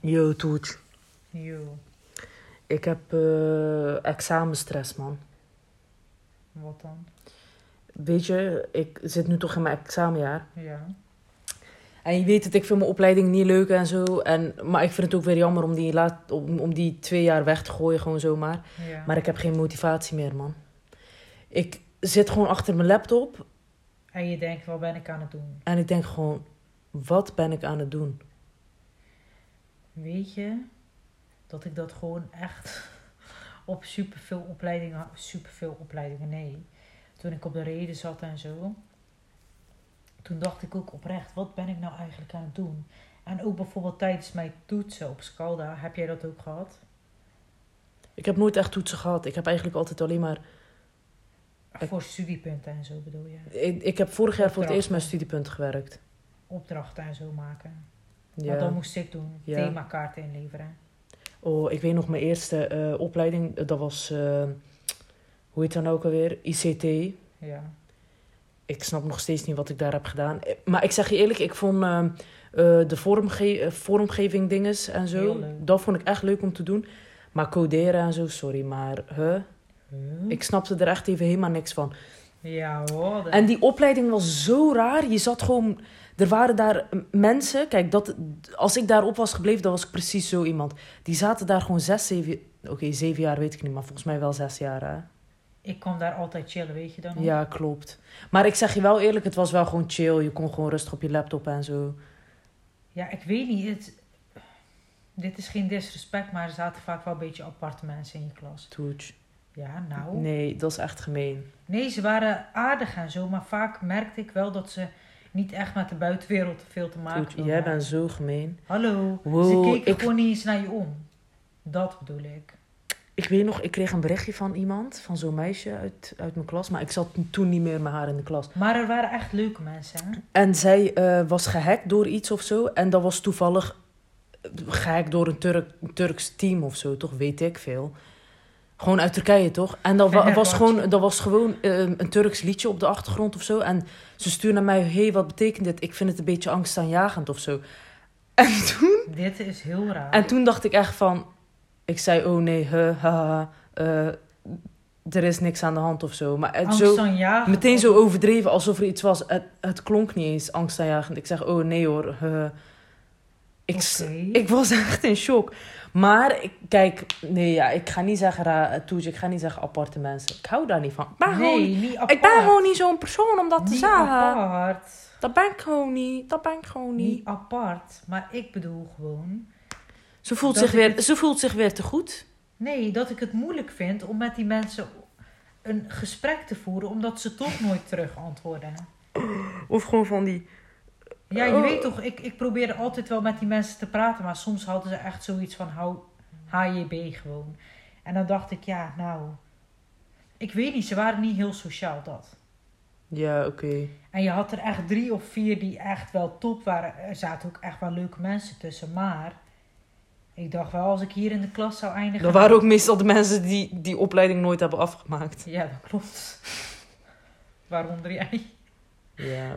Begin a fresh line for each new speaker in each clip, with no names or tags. Yo, Toetje.
Yo,
Ik heb eh, examenstress, man.
wat dan?
Weet je, ik zit nu toch in mijn examenjaar.
Ja.
En je weet het, ik vind mijn opleiding niet leuk en zo. En, maar ik vind het ook weer jammer om die, laat, om, om die twee jaar weg te gooien, gewoon zomaar.
ja.
Maar ik heb geen motivatie meer, man. Ik zit gewoon achter mijn laptop
En je denkt, wat ben ik aan het doen?
en ik denk gewoon... Wat ben ik aan het doen?
Weet je dat ik dat gewoon echt op superveel opleidingen, superveel opleidingen, nee. Toen ik op de reden zat en zo, toen dacht ik ook oprecht, wat ben ik nou eigenlijk aan het doen? En ook bijvoorbeeld tijdens mijn toetsen op Scalda, heb jij dat ook gehad?
Ik heb nooit echt toetsen gehad. Ik heb eigenlijk altijd alleen maar...
Voor studiepunten en zo bedoel je?
Ik, ik heb vorig jaar voor het eerst mijn
Opdrachten.
studiepunt gewerkt.
Opdrachten en zo maken.
Ja.
Want dat moest ik doen,
Ja.
themakaart inleveren.
Oh, ik weet nog mijn eerste eh, opleiding. eh, Dat was, eh, hoe heet dat nou ook alweer? ICT.
Ja.
Ik snap nog steeds niet wat ik daar heb gedaan. Eh, Maar ik zeg je eerlijk, ik vond eh, eh, de vormge eh, vormgeving dinges en
Heel
zo.
leuk.
Dat vond ik echt leuk om te doen. Maar coderen en zo, sorry, maar huh?
Hm? Huh?
ik snapte er echt even helemaal niks van.
Ja hoor. dat-
En die opleiding was zo raar. Je zat gewoon. Er waren daar m- mensen. Kijk, dat, als ik daarop was gebleven, dan was ik precies zo iemand. Die zaten daar gewoon zes, zeven. Oké, zeven jaar weet ik niet, maar volgens mij wel zes jaar. Hè?
Ik kwam daar altijd chillen, weet je dan? nog?
Ja, klopt. Maar ik zeg je wel eerlijk, het was wel gewoon chill. Je kon gewoon rustig op je laptop en zo.
Ja, ik weet niet. Het... Dit is geen disrespect, maar er zaten vaak wel een beetje aparte mensen in je klas.
Toets.
Ja, nou. Nee.
Nee, dat is echt gemeen.
ze waren aardig en zo, maar vaak merkte ik wel dat ze niet echt met de buitenwereld veel te maken
Toets,
hadden.
jij bent zo gemeen.
Hallo.
Wow,
ze keken
ik-
gewoon niet eens naar je om. Dat bedoel ik.
Ik weet nog, ik kreeg een berichtje van iemand, van zo'n meisje uit, uit mijn klas. Maar ik zat toen niet meer met haar in de klas.
Maar er waren echt leuke mensen, hè?
En zij eh, was gehackt door iets of zo. En dat was toevallig eh, gehackt door een Turk, een Turks team of zo, toch? Weet ik veel. Gewoon uit Turkije, toch? En dat wa- was gewoon, dat was gewoon eh, een Turks liedje op de achtergrond of zo. En ze stuurde naar mij, hé, hey, wat betekent dit? Ik vind het een beetje angstaanjagend of zo. En toen,
Dit is heel raar.
en toen dacht ik echt van... Ik zei, oh nee, huh, haha, eh, er is niks aan de hand of zo. Maar het, zo,
Angstaanjagend.
Meteen zo overdreven, alsof er iets was. Het, het klonk niet eens angstaanjagend. Ik zeg, oh nee hoor. eh, ik, s-
Oké.
ik was echt in shock. Maar, ik, kijk, nee ja, ik ga niet zeggen ra- toetje, ik ga niet zeggen aparte mensen. Ik hou daar niet van. Ik ben, gewoon,
Nee, niet apart.
ik ben gewoon niet zo'n persoon om dat te
Niet
zeggen.
apart.
Dat ben ik gewoon niet, dat ben ik gewoon niet.
Niet apart, maar ik bedoel gewoon.
Ze, voelt
Dat
zich
ik
weer, ze voelt zich weer te goed.
Nee, dat ik het moeilijk vind om met die mensen een gesprek te voeren, omdat ze toch nooit terug antwoorden.
Of gewoon van die...
Ja, je
Oh.
weet toch, ik, ik probeerde altijd wel met die mensen te praten, maar soms hadden ze echt zoiets van hou, HJB gewoon. En dan dacht ik, ja, nou. Ik weet niet, ze waren niet heel sociaal dat.
Ja, oké.
En je had er echt drie of vier die echt wel top waren. Er zaten ook echt wel leuke mensen tussen, maar ik dacht wel, als ik hier in de klas zou eindigen.
Dat waren ook meestal de mensen die die opleiding nooit hebben afgemaakt.
Ja, dat klopt. Waaronder jij.
Ja,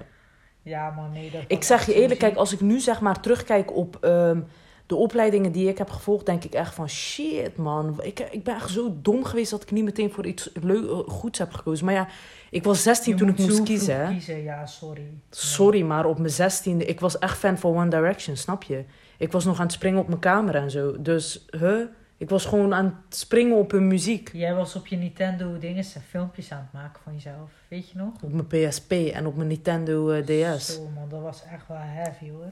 Ja, man, nee. Dat
Ik
was
zeg
echt
je eerlijk,
ruzie.
kijk, als ik nu zeg maar terugkijk op ehm, de opleidingen die ik heb gevolgd, denk ik echt van shit man. Ik, ik ben echt zo dom geweest dat ik niet meteen voor iets leu- eh, goeds heb gekozen. Maar ja, ik was 16
Je
toen ik
moet
moest
zo
kiezen.
vroeg
hè.
kiezen, ja, sorry.
Sorry, maar op mijn 16e, ik was echt fan van One Direction, snap je? Ik was nog aan het springen op mijn camera en zo. Dus, huh? Ik was gewoon aan het springen op hun muziek.
Jij was op je Nintendo dingen filmpjes aan het maken van jezelf. Weet je nog?
Op mijn PSP en op mijn Nintendo eh, DS.
Zo, man, dat was echt wel heavy, hoor.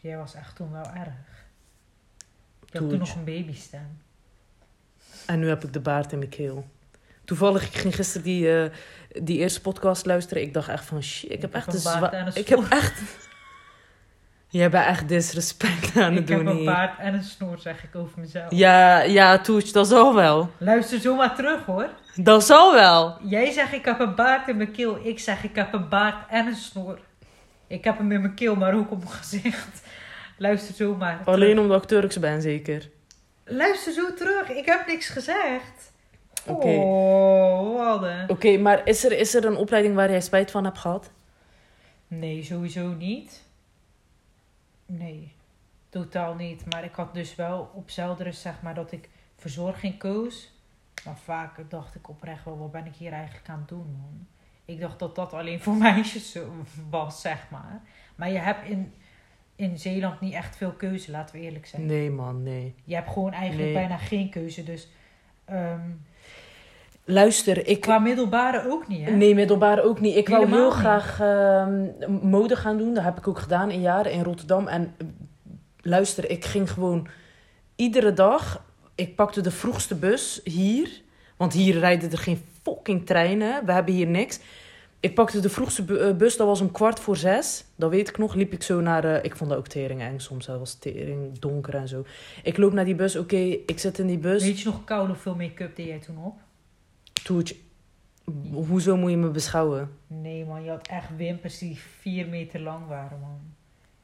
Jij was echt toen wel erg. Je
Doe
had toen
het.
nog een babystem.
En nu heb ik de baard in mijn keel. Toevallig, ik ging gisteren die, eh, die eerste podcast luisteren. Ik dacht echt van, shit, ik heb echt een
baard en
zwaar...
een
Ik heb
snoer.
echt... Jij bent echt disrespect aan het
ik heb
doen
een
hier.
paard en een snoer, zeg ik over mezelf.
Ja, ja, Toets, dat zal wel.
Luister zomaar terug, hoor.
Dat zal wel.
Jij zegt ik heb een baard in mijn keel. Ik zeg ik heb een baard en een snor. Ik heb hem in mijn keel, maar ook op mijn gezicht. Luister zo maar.
Alleen omdat ik Turks ben, zeker.
terug. Luister zo terug. Ik heb niks gezegd.
Oké.
Oh, wat een-
Oké, maar is er, is er een opleiding waar jij spijt van hebt gehad?
Nee, sowieso niet. Nee. Totaal niet. Maar ik had dus wel op Zelderus zeg maar dat ik verzorging koos. Maar vaak dacht ik oprecht wel, wat ben ik hier eigenlijk aan het doen man? Ik dacht dat dat alleen voor meisjes zo was zeg maar. Maar je hebt in, in Zeeland niet echt veel keuze, laten we eerlijk zijn.
Nee, man, nee.
Je hebt gewoon eigenlijk
Nee.
bijna geen keuze. Dus ehm,
Luister, ik.
qua middelbare ook niet hè?
Nee, middelbaar ook niet. Ik wou
Helemaal
heel
niet.
graag ehm, mode gaan doen. Dat heb ik ook gedaan in jaren in Rotterdam. En eh, luister, ik ging gewoon iedere dag. Ik pakte de vroegste bus hier. Want hier rijden er geen fucking treinen. We hebben hier niks. Ik pakte de vroegste bu- eh, bus, dat was om kwart voor zes. Dat weet ik nog. Liep ik zo naar. eh, ik vond dat ook tering eng soms. Dat was tering donker en zo. Ik loop naar die bus. Oké, ik zit in die bus.
Weet je nog koud hoeveel make-up deed jij toen op?
Toetje, hoezo moet je me beschouwen?
Nee man, je had echt wimpers die vier meter lang waren man.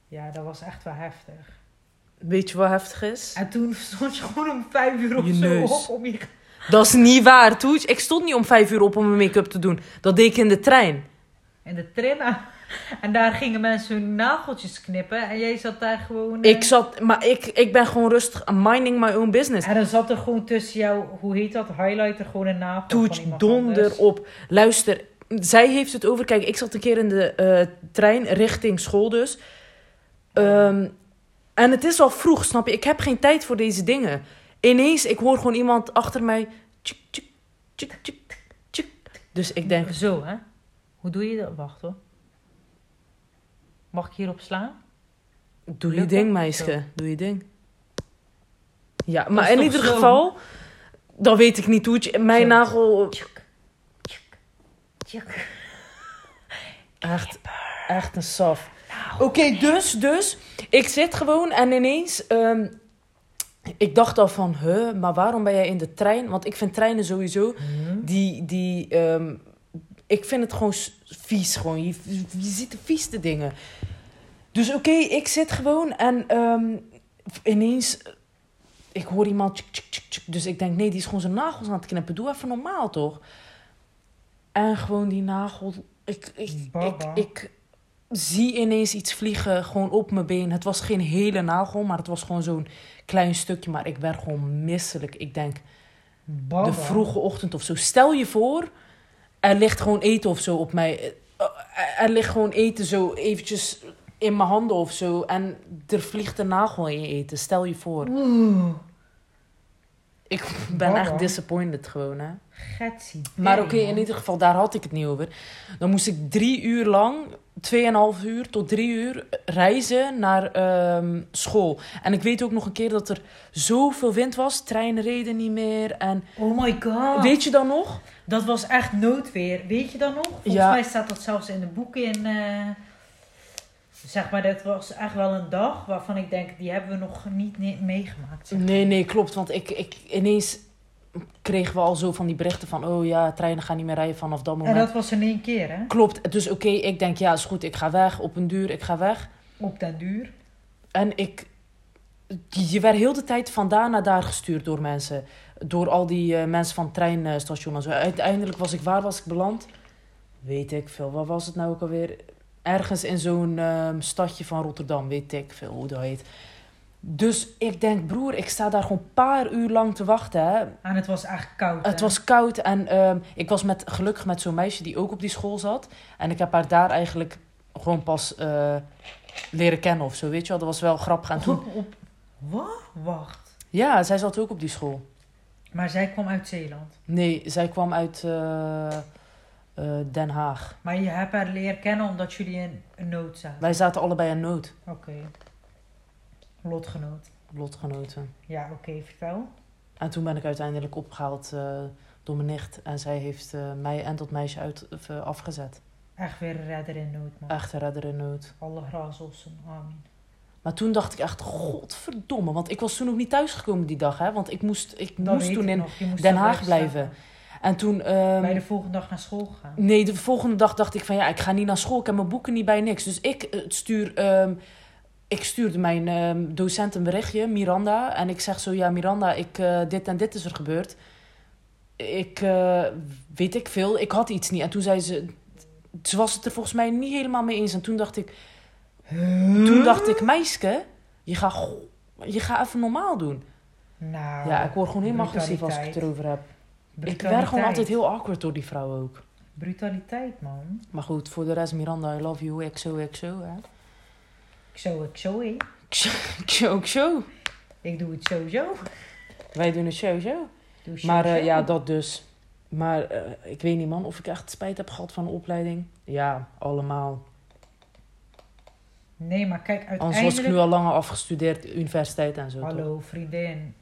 Ja, dat was echt wel heftig.
Weet je wat heftig is?
En toen stond je gewoon om vijf uur of
Je
zo
neus.
op om je...
Dat is niet waar, Toets. Ik stond niet om vijf uur op om mijn make-up te doen. Dat deed ik in de trein.
En de trillen. En daar gingen mensen hun nageltjes knippen. En jij zat daar gewoon... eh,
Ik zat, maar ik, ik ben gewoon rustig minding my own business.
eh, En dan zat er gewoon tussen jou, hoe heet dat, highlighter, gewoon een naam.
Toets, donder op. Luister, zij heeft het over. Kijk, ik zat een keer in de eh, trein richting school dus. Ehm, en het is al vroeg, snap je? Ik heb geen tijd voor deze dingen. Ineens, ik hoor gewoon iemand achter mij. Tjik, tjik, tjik, tjik, tjik. Dus ik denk,
Zo, hè. Hoe doe je dat? Wacht hoor. Mag ik hierop slaan?
Doe je
Lukt
ding,
dat?
meisje. Doe je ding. Ja,
is
maar in
toch
ieder
zo?
geval... Dan weet ik niet hoe het... Mijn
Zo.
nagel...
Tjuk, tjuk, tjuk.
Echt, echt een saf. Oké,
Nou.
dus, dus. Ik zit gewoon en ineens... ehm, ik dacht al van... Huh, maar waarom ben jij in de trein? Want ik vind treinen sowieso...
Mhm.
Die... die ehm, ik vind het gewoon s- vies. Gewoon. Je, je ziet de vieste dingen. Dus oké, ik zit gewoon en ehm, ineens... eh, Ik hoor iemand... tjik, tjik, tjik, tjik. dus ik denk, nee, die is gewoon zijn nagels aan het knippen. Doe even normaal, toch? En gewoon die nagel... Ik, ik, ik,
Baba.
ik zie ineens iets vliegen gewoon op mijn been. Het was geen hele nagel, maar het was gewoon zo'n klein stukje. Maar ik werd gewoon misselijk. Ik denk,
Baba.
de vroege ochtend of zo. Stel je voor, er ligt gewoon eten of zo op mij. Eh, eh, Er ligt gewoon eten zo eventjes in mijn handen of zo. En er vliegt een nagel in je eten. Stel je voor.
Oeh.
Ik ben
Baba.
echt disappointed gewoon, hè.
Getsie.
Maar oké,
man.
in ieder geval, daar had ik het niet over. Dan moest ik drie uur lang, tweeënhalf uur tot drie uur reizen naar ehm, school. En ik weet ook nog een keer dat er zoveel wind was. Treinen reden niet meer. En
Oh my god.
weet je dan nog?
Dat was echt noodweer. Weet je dat nog? Volgens
Ja.
mij staat dat zelfs in de boeken in. eh, zeg maar, dat was echt wel een dag waarvan ik denk, die hebben we nog niet ne- meegemaakt. zeg.
Nee, nee, klopt. Want ik, ik ineens kregen we al zo van die berichten van... oh ja, treinen gaan niet meer rijden vanaf dat
En
moment.
dat was in één keer, hè?
Klopt. Dus oké, ik denk, ja, is goed, ik ga weg. Op een duur, ik ga weg.
Op den duur.
En ik... Je werd heel de tijd van daar naar daar gestuurd door mensen. Door al die eh, mensen van het treinstation en zo. Uiteindelijk was ik... Waar was ik beland? Weet ik veel. Waar was het nou ook alweer? Ergens in zo'n ehm, stadje van Rotterdam. Weet ik veel hoe dat heet. Dus ik denk, broer, ik sta daar gewoon een paar uur lang te wachten, hè.
En het was echt koud.
Het
hè?
was koud en ehm, ik was met, gelukkig met zo'n meisje die ook op die school zat. En ik heb haar daar eigenlijk gewoon pas eh, leren kennen of zo, weet je wel. Dat was wel grappig. En toen,
Op, op- Wat? Wacht.
ja, zij zat ook op die school.
Maar zij kwam uit Zeeland.
Nee, zij kwam uit eh, eh, Den Haag.
Maar je hebt haar leren kennen omdat jullie in een nood zaten.
Wij zaten allebei in nood,
Oké. Lotgenoot.
lotgenoten.
Ja, oké, vertel.
En toen ben ik uiteindelijk opgehaald eh, door mijn nicht. En zij heeft eh, mij en dat meisje uit, of, eh, afgezet.
Echt weer een redder in nood, man.
Echte redder in nood.
Alle razels, amen.
Maar toen dacht ik echt, godverdomme. Want ik was toen ook niet thuisgekomen die dag, hè. Want ik moest, ik
Dat
moest
weet
toen
ik
in...
nog. Je moest
Den
daar
Haag
slapen.
En toen... ehm,
Bij de volgende dag naar school gaan.
Nee, de volgende dag dacht ik van... Ja, ik ga niet naar school. Ik heb mijn boeken niet bij niks. Dus ik eh, stuur... ehm, ik stuurde mijn ehm, docent een berichtje, Miranda. En ik zeg zo, ja, Miranda, ik, eh, dit en dit is er gebeurd. Ik eh, weet ik veel. Ik had iets niet. En toen zei ze...
Hmm?
Ze was het er volgens mij niet helemaal mee eens. En toen dacht ik... Toen dacht ik, meisje, Je gaat, go- je gaat even normaal doen.
Nou,
Ja, ik word gewoon helemaal agressief als ik het
brutaliteit.
erover heb. Ik werd
Brutaliteit.
gewoon altijd heel awkward door die vrouw ook.
Brutaliteit, man.
Maar goed, voor de rest Miranda, I love you, XO, XO, hè.
Ik zo, ik zo, hé.
XO, XO.
Ik doe het sowieso.
Wij doen het sowieso.
Doe
Maar eh,
sowieso.
ja, dat dus. Maar eh, ik weet niet, man, of ik echt spijt heb gehad van de opleiding. Ja, allemaal.
Nee, maar kijk,
Anders was ik
uiteindelijk...
nu al langer afgestudeerd, universiteit en zo. toch?
Hallo, vriendin.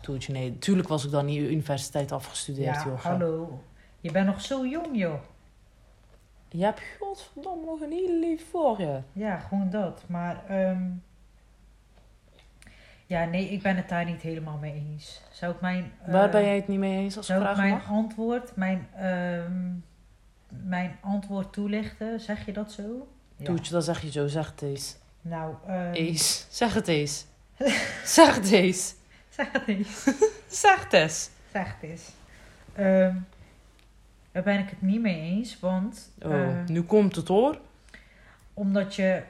Toetje, nee, tuurlijk was ik dan niet universiteit afgestudeerd,
Ja,
joh. gek.
hallo. Je bent nog zo jong, joh.
Je hebt godverdomme nog een heel lief voor je.
Ja, gewoon dat. Maar, ehm, ja, nee, ik ben het daar niet helemaal mee eens. Zou ik mijn. eh,
Waar ben jij het niet mee eens als ik
Zou ik
vraag
mijn
mag?
antwoord, mijn, ehm, mijn antwoord toelichten? Zeg je dat zo? Ja.
Toetje, dan zeg je zo, zeg het eens.
Nou, ehm,
Eens, zeg het eens. zeg het eens.
zeg het eens.
Zeg het eens.
Zeg het eens. Ehm, daar ben ik het niet mee eens, want
Oh,
eh,
nu komt het hoor.
omdat je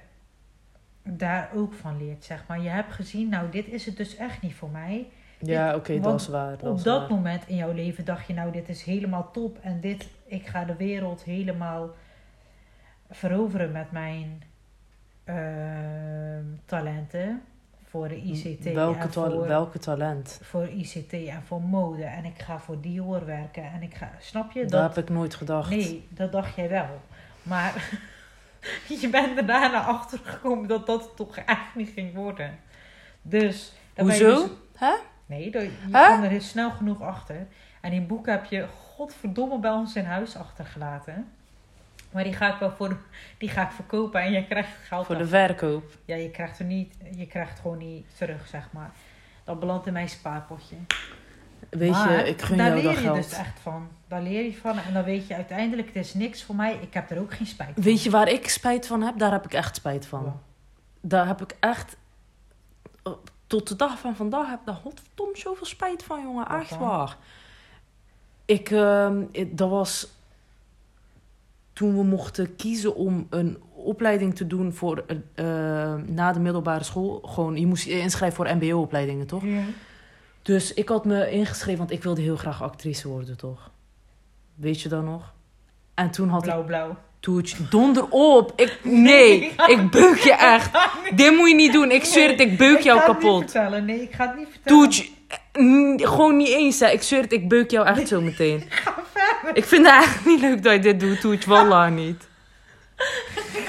daar ook van leert, zeg maar. Je hebt gezien, nou, dit is het dus echt niet voor mij.
Ja, oké, dat
want
is waar. Dat
Op
is
dat
waar.
moment in jouw leven dacht je, nou, dit is helemaal top en dit, ik ga de wereld helemaal veroveren met mijn ehm, talenten voor de ICT.
welke,
en
tal-
voor,
welke talent?
voor ICT en voor mode en ik ga voor Dior werken en ik ga, snap je?
Dat,
Dat,
heb ik nooit gedacht.
nee, dat dacht jij wel. Maar je bent er daarna achter gekomen dat dat toch echt niet ging worden. Dus. dan ben je
Hoezo?
dus-
Hè?
Nee, dat- je
Hè?
kwam er heel snel genoeg achter. En die boeken heb je godverdomme bij ons in huis achtergelaten. Maar die ga ik wel voor, die ga ik verkopen en je krijgt geld.
Voor de
af.
verkoop.
Ja, je krijgt er niet, je krijgt gewoon niet terug, zeg maar. Dat belandt in mijn spaarpotje.
Weet
Maar
je, ik gun
daar
jou dat
leer je
geld.
dus echt van. Daar leer je van en dan weet je uiteindelijk, het is niks voor mij. Ik heb er ook geen spijt van.
Weet je waar ik spijt van heb? Daar heb ik echt spijt van.
Ja.
Daar heb ik echt... eh, Tot de dag van vandaag heb ik daar godverdomme zoveel spijt van, jongen.
Wat
Echt
dan?
waar. Ik, ehm, ik- dat was... Toen we mochten kiezen om een opleiding te doen voor eh, eh, na de middelbare school. Gewoon, je moest je inschrijven voor mbo-opleidingen, toch?
Ja.
Dus ik had me ingeschreven, want ik wilde heel graag actrice worden, toch? Weet je dat nog? En toen had ik
Blauw, blauw.
Toetje, donder op. Ik, nee, ik beuk je echt. Dit moet je niet doen. Ik zweer het, ik beuk
Ik
jou
ga het niet
kapot.
vertellen. Nee, ik ga het niet vertellen.
Toetje, eh, mm, gewoon niet eens. Hè. Ik zweer het, ik beuk jou echt zo meteen. Ik vind het echt niet leuk dat je dit doet, Toetje. Wallah niet.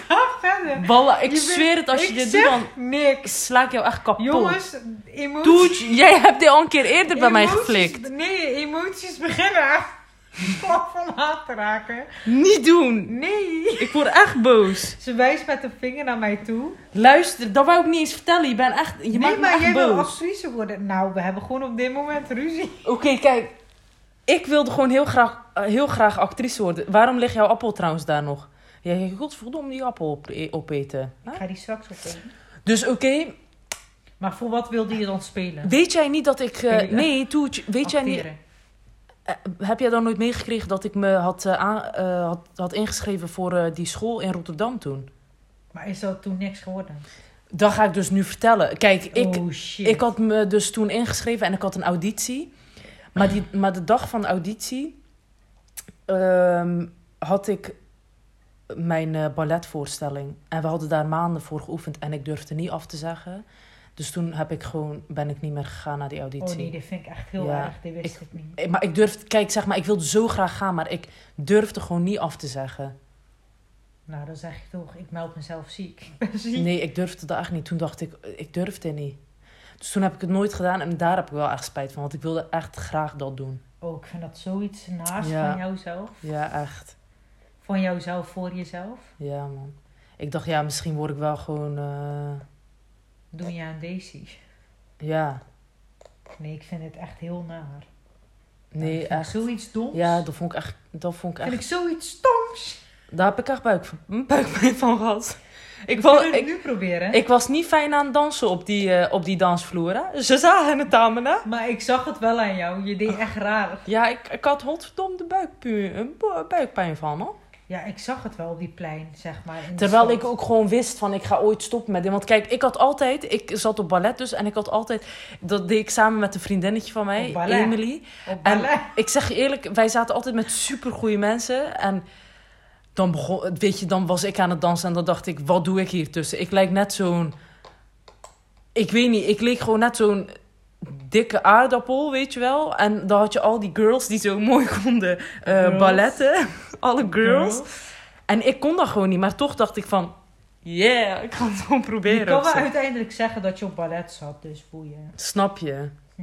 Ga verder.
Wallah, ik
Je
zweer het, als je
ik
dit
zeg
doet, dan
niks.
sla ik jou echt kapot.
Jongens, emoties.
Toetje, jij hebt dit al een keer eerder bij mij geflikt.
Nee, emoties beginnen echt slap van haat te raken.
Niet doen.
Nee.
Ik word echt boos.
Ze wijst met de vinger naar mij toe.
Luister, dat wou ik niet eens vertellen. Je bent echt, je
nee,
maakt me
maar
echt
jij wil
boos.
actrice worden. Nou, we hebben gewoon op dit moment ruzie.
Oké, kijk. Ik wilde gewoon heel graag, eh, heel graag actrice worden. Waarom ligt jouw appel trouwens daar nog? Jij ging godverdomme die appel op, eh, opeten. hè?
Ik ga die straks opnemen.
Dus oké,
Maar voor wat wilde je dan spelen?
weet jij niet dat ik... eh,
Spelen.
nee, Toetje, weet jij niet...
Acteren.
eh, heb jij dan nooit meegekregen dat ik me had, eh, aan- eh, had, had ingeschreven voor eh, die school in Rotterdam toen?
Maar is dat toen niks geworden?
Dat ga ik dus nu vertellen. Kijk, ik,
oh shit.
Ik had me dus toen ingeschreven en ik had een auditie. Maar, die, maar de dag van de auditie ehm, had ik mijn eh, balletvoorstelling. En we hadden daar maanden voor geoefend en ik durfde niet af te zeggen. Dus toen heb ik gewoon, ben ik niet meer gegaan naar die auditie.
oh nee, dit vind ik echt heel
Ja,
erg. Dit wist ik, niet.
Eh, Maar ik durfde, kijk zeg maar, ik wilde zo graag gaan, maar ik durfde gewoon niet af te zeggen.
Nou, dan zeg je toch, ik meld mezelf ziek. Ik ben ziek.
Nee, ik durfde dat echt niet. Toen dacht ik, eh, ik durfde niet. Dus toen heb ik het nooit gedaan en daar heb ik wel echt spijt van, want ik wilde echt graag dat doen.
Oh, ik vind dat zoiets naast
Ja.
van jouzelf.
Ja, echt.
Van jouzelf voor jezelf.
Ja, man. Ik dacht, ja, misschien word ik wel gewoon. eh,
Doe je aan Daisy.
ja,
Nee, ik vind het echt heel naar.
nee,
ik vind
echt.
Zoiets doms.
Ja, dat vond ik echt. Dat vond ik
vind ik
echt
zoiets stoms.
Daar heb ik echt buik, van- buikpijn van gehad. Ik,
Wil
was,
het
ik,
nu proberen.
ik was niet fijn aan het dansen op die, eh, op die dansvloer. Hè? Ze zagen het aan me, hè?
Maar ik zag het wel aan jou. Je deed echt raar.
Ja, ik, ik had hotverdomde buikpu- eh, bu- buikpijn van, hoor.
Ja, ik zag het wel op die plein, zeg maar. in de
Terwijl
stad.
ik ook gewoon wist van ik ga ooit stoppen met dit. Want kijk, ik had altijd, ik zat op ballet dus en ik had altijd, dat deed ik samen met een vriendinnetje van mij,
Op ballet.
Emily.
Op
En
ballet.
ik zeg je eerlijk, wij zaten altijd met supergoeie mensen en dan begon, weet je, dan was ik aan het dansen en dan dacht ik, wat doe ik hier tussen? Ik lijk net zo'n, ik weet niet, ik leek gewoon net zo'n dikke aardappel, weet je wel. En dan had je al die girls die zo mooi konden eh,
Girls.
balletten, alle girls. En ik kon dat gewoon niet, maar toch dacht ik van... Yeah, ik kan het gewoon proberen.
Je kan
of
wel
zo.
uiteindelijk zeggen dat je op ballet zat, dus boeien.
Snap je?
Hm.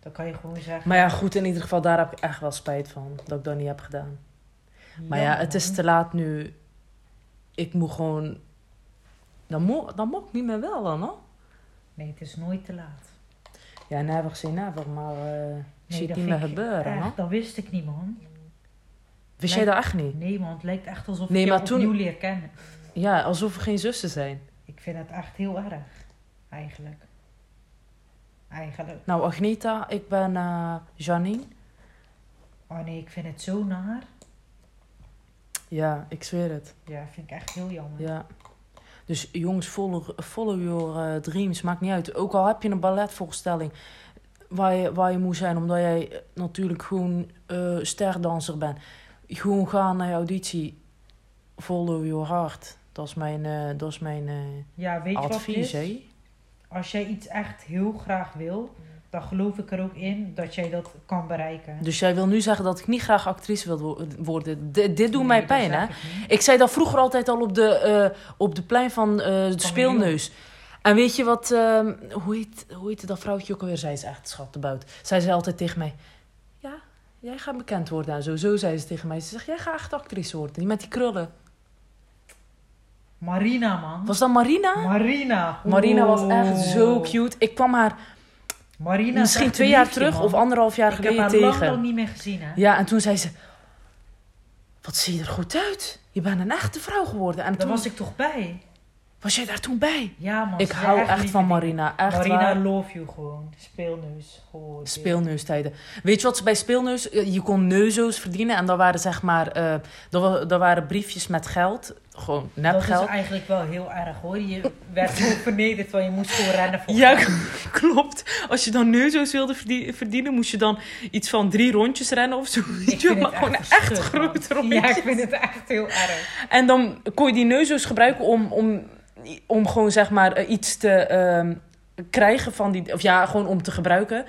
Dat kan je gewoon zeggen.
Maar ja, goed, in ieder geval, daar heb ik echt wel spijt van. Dat ik dat niet heb gedaan. Maar ja,
Jammer,
het is
man.
te laat nu. Ik moet gewoon... Dan moet, dan moet ik niet meer wel dan, hoor.
Nee, het is nooit te laat.
Ja, never say never, maar... eh
Nee,
zie het niet
dat vind
meer
ik
gebeuren, hoor.
Echt, dat wist ik niet, man.
Wist
Nee.
jij dat echt niet?
Nee, man, het lijkt echt alsof
Nee,
ik jou
maar toen-
opnieuw leer kennen.
Ja, alsof we geen zussen zijn.
Ik vind het echt heel erg, eigenlijk. Eigenlijk.
Nou, Agneta, ik ben eh, Janine.
Oh nee, ik vind het zo naar.
Ja, ik zweer het.
Ja, vind ik echt heel jammer.
Ja. Dus jongens, follow, follow your eh, dreams. Maakt niet uit. Ook al heb je een balletvoorstelling waar je, waar je moet zijn, omdat jij eh, natuurlijk gewoon eh, sterdanser bent. Gewoon gaan naar je auditie. Follow your heart. Dat is mijn, eh, dat is mijn eh,
Ja, weet je wat
advies,
het is?
hè?
Als jij iets echt heel graag wil, dan geloof ik er ook in dat jij dat kan bereiken.
Dus jij wil nu zeggen dat ik niet graag actrice wil wo- worden. D- dit doet
Nee,
mij
dat
pijn,
zeg
hè?
ik niet.
Ik zei dat vroeger altijd al op de, eh, op de plein van eh de speelneus. En weet je wat, ehm, hoe, heet, hoe heette dat vrouwtje ook alweer? Zij is echt schattebout. Zij zei altijd tegen mij, ja, jij gaat bekend worden en zo. Zo zei ze tegen mij. Ze zegt, jij gaat echt actrice worden, die met die krullen.
Marina, man.
Was dat Marina?
Marina. Oh.
Marina was echt
Oeh.
zo cute. Ik kwam haar
Marina is
misschien
echt
twee
een
jaar
liefje,
terug
man.
of anderhalf jaar
Ik heb
geleden
haar
tegen.
lang al niet meer gezien, hè?
Ja, en toen zei ze, wat zie je er goed uit. Je bent een echte vrouw geworden. En
Daar
toen was,
was ik toch bij?
jij daar toen bij.
Ja, man.
Ik
ze
hou
zijn
echt
lieve
van
dingen.
Marina. Echt
Marina,
waar.
love you gewoon. Speelneus. Gewoon.
Speelneustijden. Weet je wat ze bij speelneus... eh, Je kon neuzo's verdienen en dat waren zeg maar... eh, dat, wa- dat waren briefjes met geld. Gewoon nep
Dat
geld.
is eigenlijk wel heel erg, hoor. Je werd zo vernederd, want je moest gewoon rennen voor
Ja, klopt. Als je dan neuzo's wilde verdie- verdienen... moest je dan iets van drie rondjes rennen of zo.
Ik
weet je wel,
vind
Maar
het
gewoon echt
verschrikkelijk, man.
grote rondjes.
Ja, ik vind het echt heel erg.
En dan kon je die neuzo's gebruiken om... om om gewoon zeg maar eh, iets te ehm, krijgen van die... Of ja, gewoon om te gebruiken.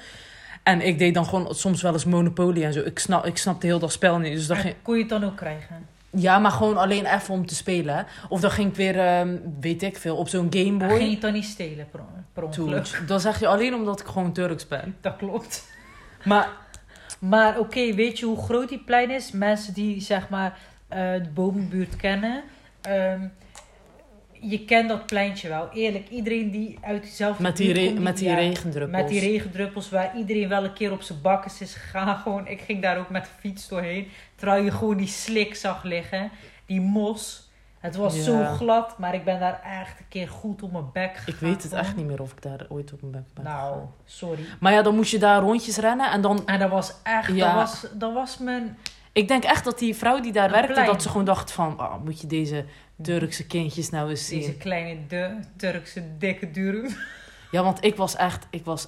En ik deed dan gewoon soms wel eens Monopoly en zo. Ik, snap, ik snapte heel dat spel niet. Dus dan ging,
En Kon je het dan ook krijgen?
Ja, maar gewoon alleen even om te spelen. hè. Of dan ging ik weer, ehm, weet ik veel, op zo'n Game
Ging je
Boy.
het dan niet stelen per, per
Toen.
ongeluk?
Dan zeg je alleen omdat ik gewoon Turks ben.
Dat klopt.
Maar
Maar oké, weet je hoe groot die plein is? Mensen die zeg maar eh, de bovenbuurt kennen. ehm, je kent dat pleintje wel. Eerlijk, iedereen die uit diezelfde
met die,
buurt
re-
komt,
met die
ja,
regendruppels.
Met die regendruppels waar iedereen wel een keer op zijn bakkes is gegaan. Gewoon, ik ging daar ook met de fiets doorheen. Terwijl je gewoon die slik zag liggen. Die mos. Het was
Ja.
zo glad, maar ik ben daar echt een keer goed op mijn bek gegaan.
ik weet het
gewoon.
echt niet meer of ik daar ooit op mijn bek ben.
Ah. Nou,
gegaan.
sorry.
Maar ja, dan moest je daar rondjes rennen. En dan,
En dat was echt,
Ja.
dat, was, dat was mijn...
ik denk echt dat die vrouw die daar
Een
werkte,
plein.
dat ze gewoon dacht van... ah, moet je deze Turkse kindjes nou eens zien.
Deze kleine de, Turkse dikke durum.
Ja, want ik was echt, ik was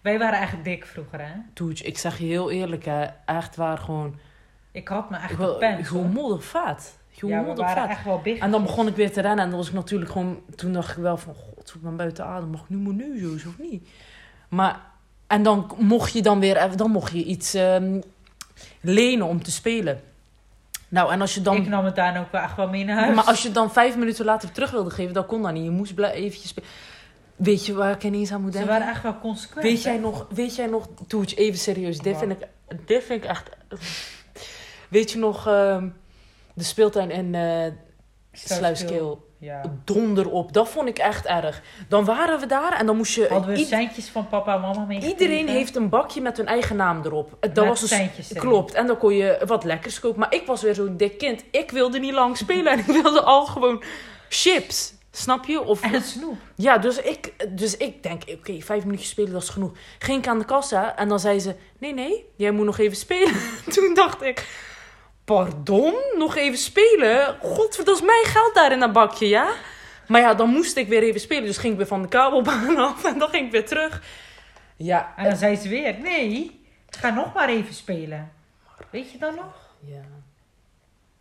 Wij waren echt dik vroeger, hè?
toetje. Ik zeg je heel eerlijk, hè, echt waar gewoon...
Ik had me echt
Gewoon
gepend.
gewoon
hoor.
moddervaat. Gewoon
Ja, we waren
moddervaat.
echt wel big.
En dan begon ik weer te rennen. En dan was ik natuurlijk gewoon... Toen dacht ik wel van... God, ik ben buiten adem. Mag ik nu mijn neus of niet? Maar... En dan mocht je dan weer... even- Dan mocht je iets ehm, lenen om te spelen. Nou, en als je
Ik
dan...
nam het daarna ook wel echt wel mee naar huis.
Maar als je het dan vijf minuten later terug wilde geven... Dan kon dat niet. Je moest blij- eventjes spelen. Weet je waar ik ineens aan moet
Ze
denken?
waren echt wel consequent.
Weet
hè?
jij nog, weet jij nog, Toetje, even serieus, dit
Wat?
vind, ik, dit vind ik echt... Weet je nog ehm, de speeltuin in eh
Sluiskeel.
Sluiskeel?
Ja.
donder op. Dat vond ik echt erg. Dan waren we daar en dan moest je.
Hadden we
ied-
centjes van papa en mama mee?
iedereen heeft een bakje met hun eigen naam erop. Het- Dat
Met
was dus.
centjes erin.
Klopt, en dan kon je wat lekkers kopen. Maar ik was weer zo'n dik kind. Ik wilde niet lang spelen en ik wilde al gewoon chips. Snap je? Of,
En snoep.
ja, dus ik, dus ik denk, oké, vijf minuutjes spelen, dat is genoeg. Ging ik aan de kassa en dan zei ze, nee, nee, jij moet nog even spelen. Toen dacht ik, pardon? Nog even spelen? Godver, dat is mijn geld daar in dat bakje, ja? Maar ja, dan moest ik weer even spelen. Dus ging ik weer van de kabelbaan af en dan ging ik weer terug. Ja.
En dan zei ze weer, nee, ga nog maar even spelen. Weet je dat nog?
ja.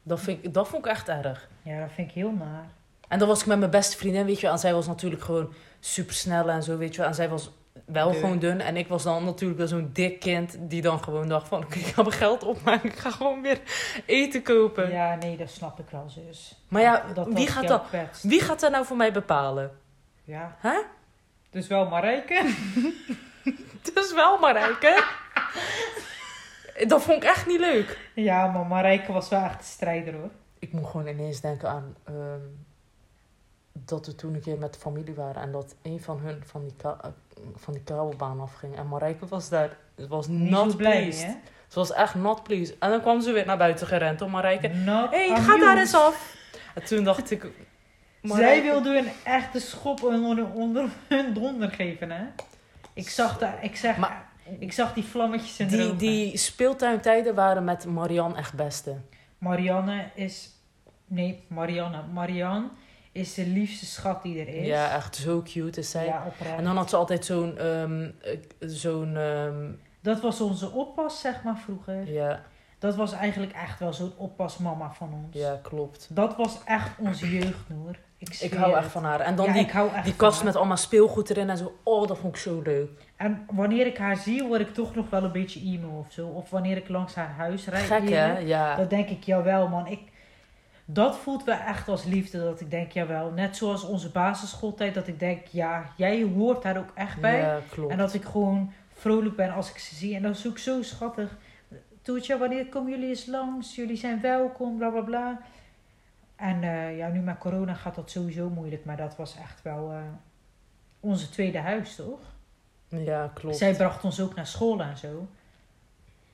Dat, vind ik, dat vond ik echt erg.
Ja, dat vind ik heel naar.
En dan was ik met mijn beste vriendin, weet je wel. En zij was natuurlijk gewoon supersnel en zo, weet je wel. En zij was wel
Dun.
gewoon dun. En ik was dan natuurlijk wel zo'n dik kind die dan gewoon dacht van... Oké, ik ga mijn geld opmaken. Ik ga gewoon weer eten kopen.
Ja, nee, dat snap ik wel, zus.
Maar ja,
Dat
wie
was
gaat
jouw
dat...
kwets.
Wie gaat dat nou voor mij bepalen?
Ja.
Hè?
Dus wel Marijke.
Het is wel Marijke. dat vond ik echt niet leuk.
Ja, maar Marijke was wel echt de strijder, hoor.
Ik moet gewoon ineens denken aan... ehm, dat we toen een keer met de familie waren... en dat een van hun van die, ka- eh, van die kabelbaan afging. En Marijke was daar... Het was
Niet
not
zo blij,
pleased.
hè?
Ze was echt not pleased. En dan kwam ze weer naar buiten gerend om Marijke...
Not
Hé, eh, hey, ga
amused.
daar eens af. En toen dacht ik...
Mm. Ah, Zij
Marijke-
wilde een echte schop onder, onder hun donder geven, hè? Ik zag, daar, ik, zeg,
Maar-
ik zag die vlammetjes in de
Die,
ogen.
die speeltuintijden waren met Marianne echt beste.
Marianne is... Nee, Marianne. Marianne is de liefste schat die er is.
Ja, echt zo cute is zij.
Ja, oprecht.
En dan had ze altijd zo'n... ehm, eh, zo'n ehm,
Dat was onze oppas, zeg maar, vroeger.
ja,
Dat was eigenlijk echt wel zo'n oppasmama van ons.
ja, klopt.
Dat was echt onze jeugd, hoor. Ik,
Ik
zweer
hou
het.
echt van haar. En dan
Ja,
die,
ik hou echt
die
van
kast
haar.
met allemaal speelgoed erin en zo. Oh, dat vond ik zo leuk.
En wanneer ik haar zie, word ik toch nog wel een beetje emo of zo. Of wanneer ik langs haar huis rijd.
Gek,
hier,
hè? Ja.
Dan denk ik, jawel man, ik, dat voelt wel echt als liefde. Dat ik denk, jawel, net zoals onze basisschooltijd. Dat ik denk, ja, jij hoort daar ook echt bij.
Ja, klopt.
En dat ik gewoon vrolijk ben als ik ze zie. En dat is ook zo schattig. Toetje, wanneer komen jullie eens langs? Jullie zijn welkom, bla bla bla. En eh, ja, nu met corona gaat dat sowieso moeilijk. Maar dat was echt wel eh, onze tweede huis, toch?
Ja, klopt.
Zij bracht ons ook naar school en zo.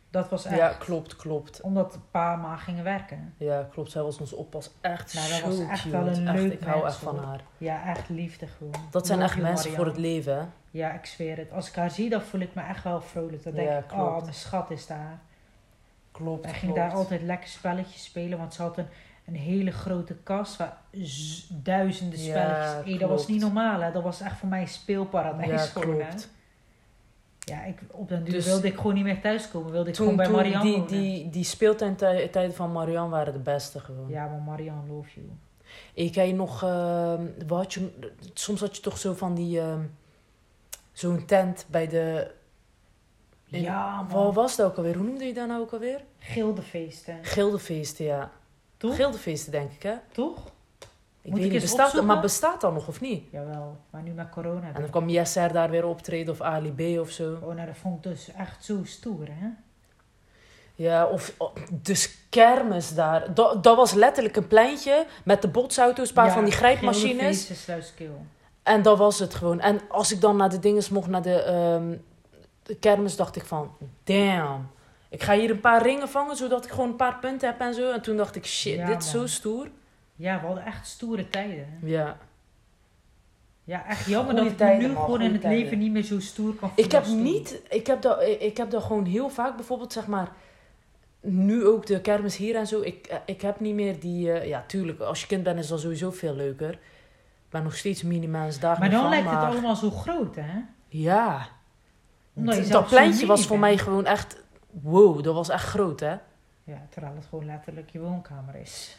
Dat was echt.
Ja, klopt, klopt.
Omdat pa en ma gingen werken.
Ja, klopt. Zij was ons oppas echt
Nou,
zo
dat was echt
cute.
wel een
Echt,
leuk
ik hou
mens,
echt van
hoor.
haar.
Ja, echt liefde gewoon.
Dat zijn
Love
echt
you,
mensen voor het
Marianne.
leven, hè?
Ja, ik zweer het. Als ik haar zie, dan voel ik me echt wel vrolijk. Dan denk
Ja,
ik,
klopt.
oh, mijn schat is daar.
Klopt,
Wij gingen
klopt.
daar altijd lekker spelletjes spelen, want ze had een, een hele grote kast waar z- duizenden
Ja,
spelletjes... Hey, dat
klopt.
was niet normaal, hè. Dat was echt voor mij een speelparadijs
Ja,
gewoon, hè.
klopt.
Ja, ik, op den duur
Dus-
wilde ik gewoon niet meer thuiskomen. Wilde ik
Toen,
gewoon bij
toen
Marianne
die,
wonen.
die, die speeltuintijden van Marianne waren de beste gewoon.
Ja, maar Marianne, love you.
Ik heb nog, ehm, wat had je, soms had je toch zo van die, ehm, zo'n tent bij de, In-
Ja,
wat
man.
was dat ook alweer? Hoe noemde je dat nou ook alweer?
Gildefeesten.
Gildefeesten, ja.
Toch?
Gildefeesten denk ik, hè?
Toch?
Ik weet
Moet ik
niet,
eens
bestaat,
opzoeken?
maar bestaat dat nog of niet?
Jawel, maar nu met corona.
En dan kwam Yasser daar weer optreden of Ali B of zo.
Oh, nou, dat vond ik dus echt zo stoer, hè?
Ja, of oh, dus kermis daar. Dat, dat was letterlijk een pleintje met de botsauto's, een paar
Ja, nou
van die
Gele
grijpmachines.
feesten, Sluiskil.
En dat was het gewoon. En als ik dan naar de dinges mocht, naar de, ehm, de kermis, dacht ik van... Damn, ik ga hier een paar ringen vangen, zodat ik gewoon een paar punten heb en zo. En toen dacht ik, shit,
Ja,
dit is zo
man.
stoer.
Ja, we hadden echt stoere tijden. hè.
Ja.
Ja, echt jammer
Goeie
dat ik me
tijden,
nu
man,
gewoon in
goeie
het
tijden.
leven niet meer zo stoer kan voelen.
Ik heb
als toen.
niet... Ik heb, dat, eh, ik heb dat gewoon heel vaak, bijvoorbeeld, zeg maar... Nu ook de kermis hier en zo. Ik, eh, ik heb niet meer die... eh, ja, tuurlijk, als je kind bent is dat sowieso veel leuker. Maar nog steeds minimaal's daar
Maar
niet
dan
van,
lijkt het
maar-
allemaal zo groot, hè?
Ja.
Omdat je
D-
zelf
dat
zo
pleintje was
mini
voor mij
bent.
gewoon echt... Wow, dat was echt groot, hè?
Ja, terwijl het gewoon letterlijk je woonkamer is.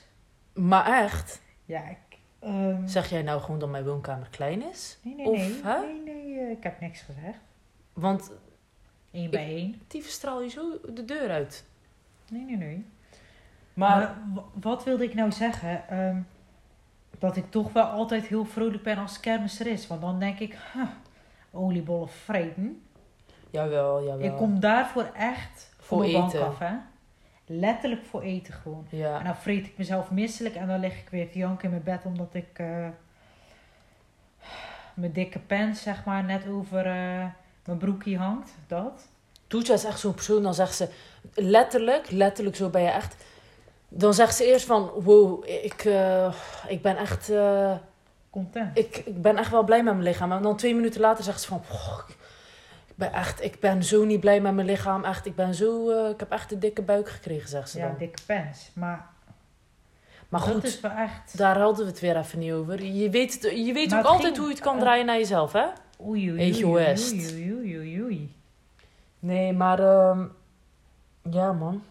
Maar echt,
Ja, ik... ehm,
zeg jij nou gewoon dat mijn woonkamer klein is?
nee, nee,
of,
nee.
hè?
Nee, nee, eh, ik heb niks gezegd.
Want
Eén bij één.
die straal je zo de deur uit.
Nee, nee, nee. Maar,
Maar
w- wat wilde ik nou zeggen? Ehm, dat ik toch wel altijd heel vrolijk ben als kermis er is. Want dan denk ik, huh, oliebollen vreten.
jawel, jawel.
Ik kom daarvoor echt
Voor
voor mijn bank
eten.
af, hè? Letterlijk voor eten gewoon. En
Ja,
dan vreet ik mezelf misselijk en dan lig ik weer te janken in mijn bed omdat ik eh, mijn dikke pens, zeg maar, net over eh, mijn broekje hangt. Dat.
Toetja is echt zo'n persoon, dan zegt ze letterlijk, letterlijk zo ben je echt. Dan zegt ze eerst van, wow, ik, eh, ik ben echt... eh,
Content.
ik, ik ben echt wel blij met mijn lichaam. En dan twee minuten later zegt ze van... "Goh, ik- Ik ben echt, ik ben zo niet blij met mijn lichaam. Echt, ik ben zo, eh, ik heb echt een dikke buik gekregen, zegt ze
Ja,
dan.
dikke pens. Maar,
Maar
dat
goed,
is wel echt...
daar hadden we het weer even niet over. Je weet, het, je weet
Maar
ook
het
altijd
ging-
hoe je het kan
eh,
draaien naar jezelf, hè?
Oei, oei,
Eet
oei,
je
oei,
West.
oei, oei, oei, oei.
Nee, maar ehm, ja, man.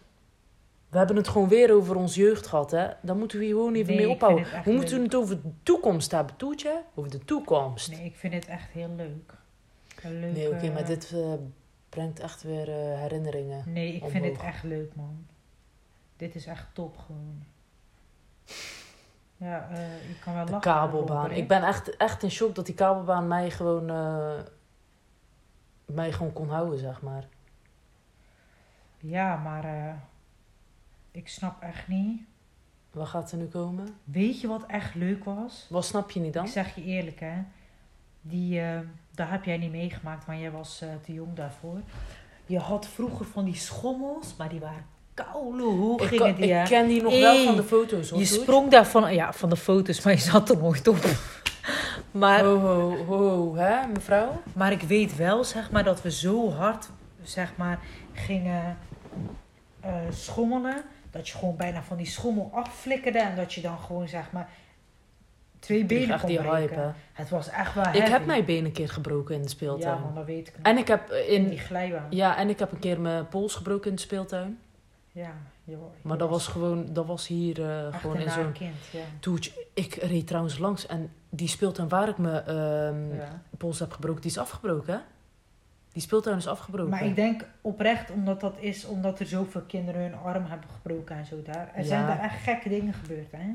We hebben het gewoon weer over ons jeugd gehad, hè? Daar moeten we hier gewoon even
Nee, ik
mee
vind
ophouden.
het echt
We moeten
leuk.
het over de toekomst hebben, Toetje? Over de toekomst.
Nee, ik vind het echt heel leuk. Een leuke...
Nee, oké, maar dit eh, brengt echt weer eh, herinneringen.
Nee, ik vind het
omhoog.
echt leuk, man. Dit is echt top, gewoon. Ja, eh je kan wel
De
lachen.
kabelbaan.
Robert, hè?
Ik ben echt, echt in shock dat die kabelbaan mij gewoon, eh, mij gewoon kon houden, zeg maar.
Ja, maar eh, ik snap echt niet.
Waar gaat ze nu komen?
Weet je wat echt leuk was?
Wat snap je niet dan?
Ik zeg je eerlijk, hè. Die, eh daar heb jij niet meegemaakt, want jij was eh, te jong daarvoor. Je had vroeger van die schommels, maar die waren koude hoog
Ik,
gingen
kan-
die, hè.
ik ken die nog wel
Hey,
van de foto's, hoor.
Je
Toet.
sprong daarvan, ja, van de foto's, maar je zat er nooit op. Maar,
Ho, ho, ho, hè, mevrouw?
maar ik weet wel, zeg maar, dat we zo hard, zeg maar, gingen eh, schommelen. Dat je gewoon bijna van die schommel afflikkerde en dat je dan gewoon, zeg maar, twee
Die
benen
echt
kon
die
breken.
hype, hè.
Het was echt wel
Ik
heavy.
heb mijn been een keer gebroken in de
Ja,
speeltuin.
man, dat weet ik nog.
en ik heb eh,
in die
in...
glijbaan. Ja,
Ja, en ik heb een keer mijn pols gebroken in de speeltuin.
je wa- je
Maar dat was gewoon, dat was hier eh,
echt
gewoon
een
in
naar
zo'n...
kind, ja.
Toetje, ik reed trouwens langs en die speeltuin waar ik mijn ehm,
ja.
pols heb gebroken, die is afgebroken, hè? Die speeltuin is afgebroken.
Maar ik denk oprecht, omdat dat is, omdat er zoveel kinderen hun arm hebben gebroken en zo daar. Er
Ja.
zijn daar echt gekke dingen gebeurd, hè?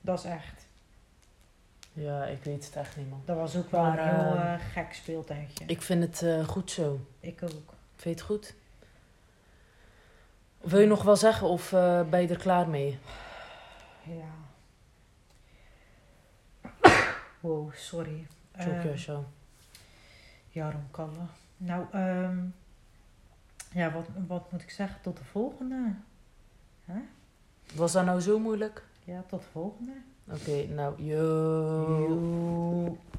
Dat is echt.
Ja, ik weet het echt niet, man.
Dat was ook wel een
Maar,
heel
ehm,
eh, gek speeltuintje. Ik,
Ik vind het eh, goed zo.
ook.
Ik vind het goed. Wil je nog wel zeggen of eh, ben je er klaar mee?
Ja. Wow, sorry. Ehm,
Tjokke, zo.
ja, Ronkalle. Nou, ehm, ja, wat, wat moet ik zeggen? Tot de volgende.
Was dat nou zo moeilijk?
Ja, tot de volgende.
Oké, nou, yo.
Joe.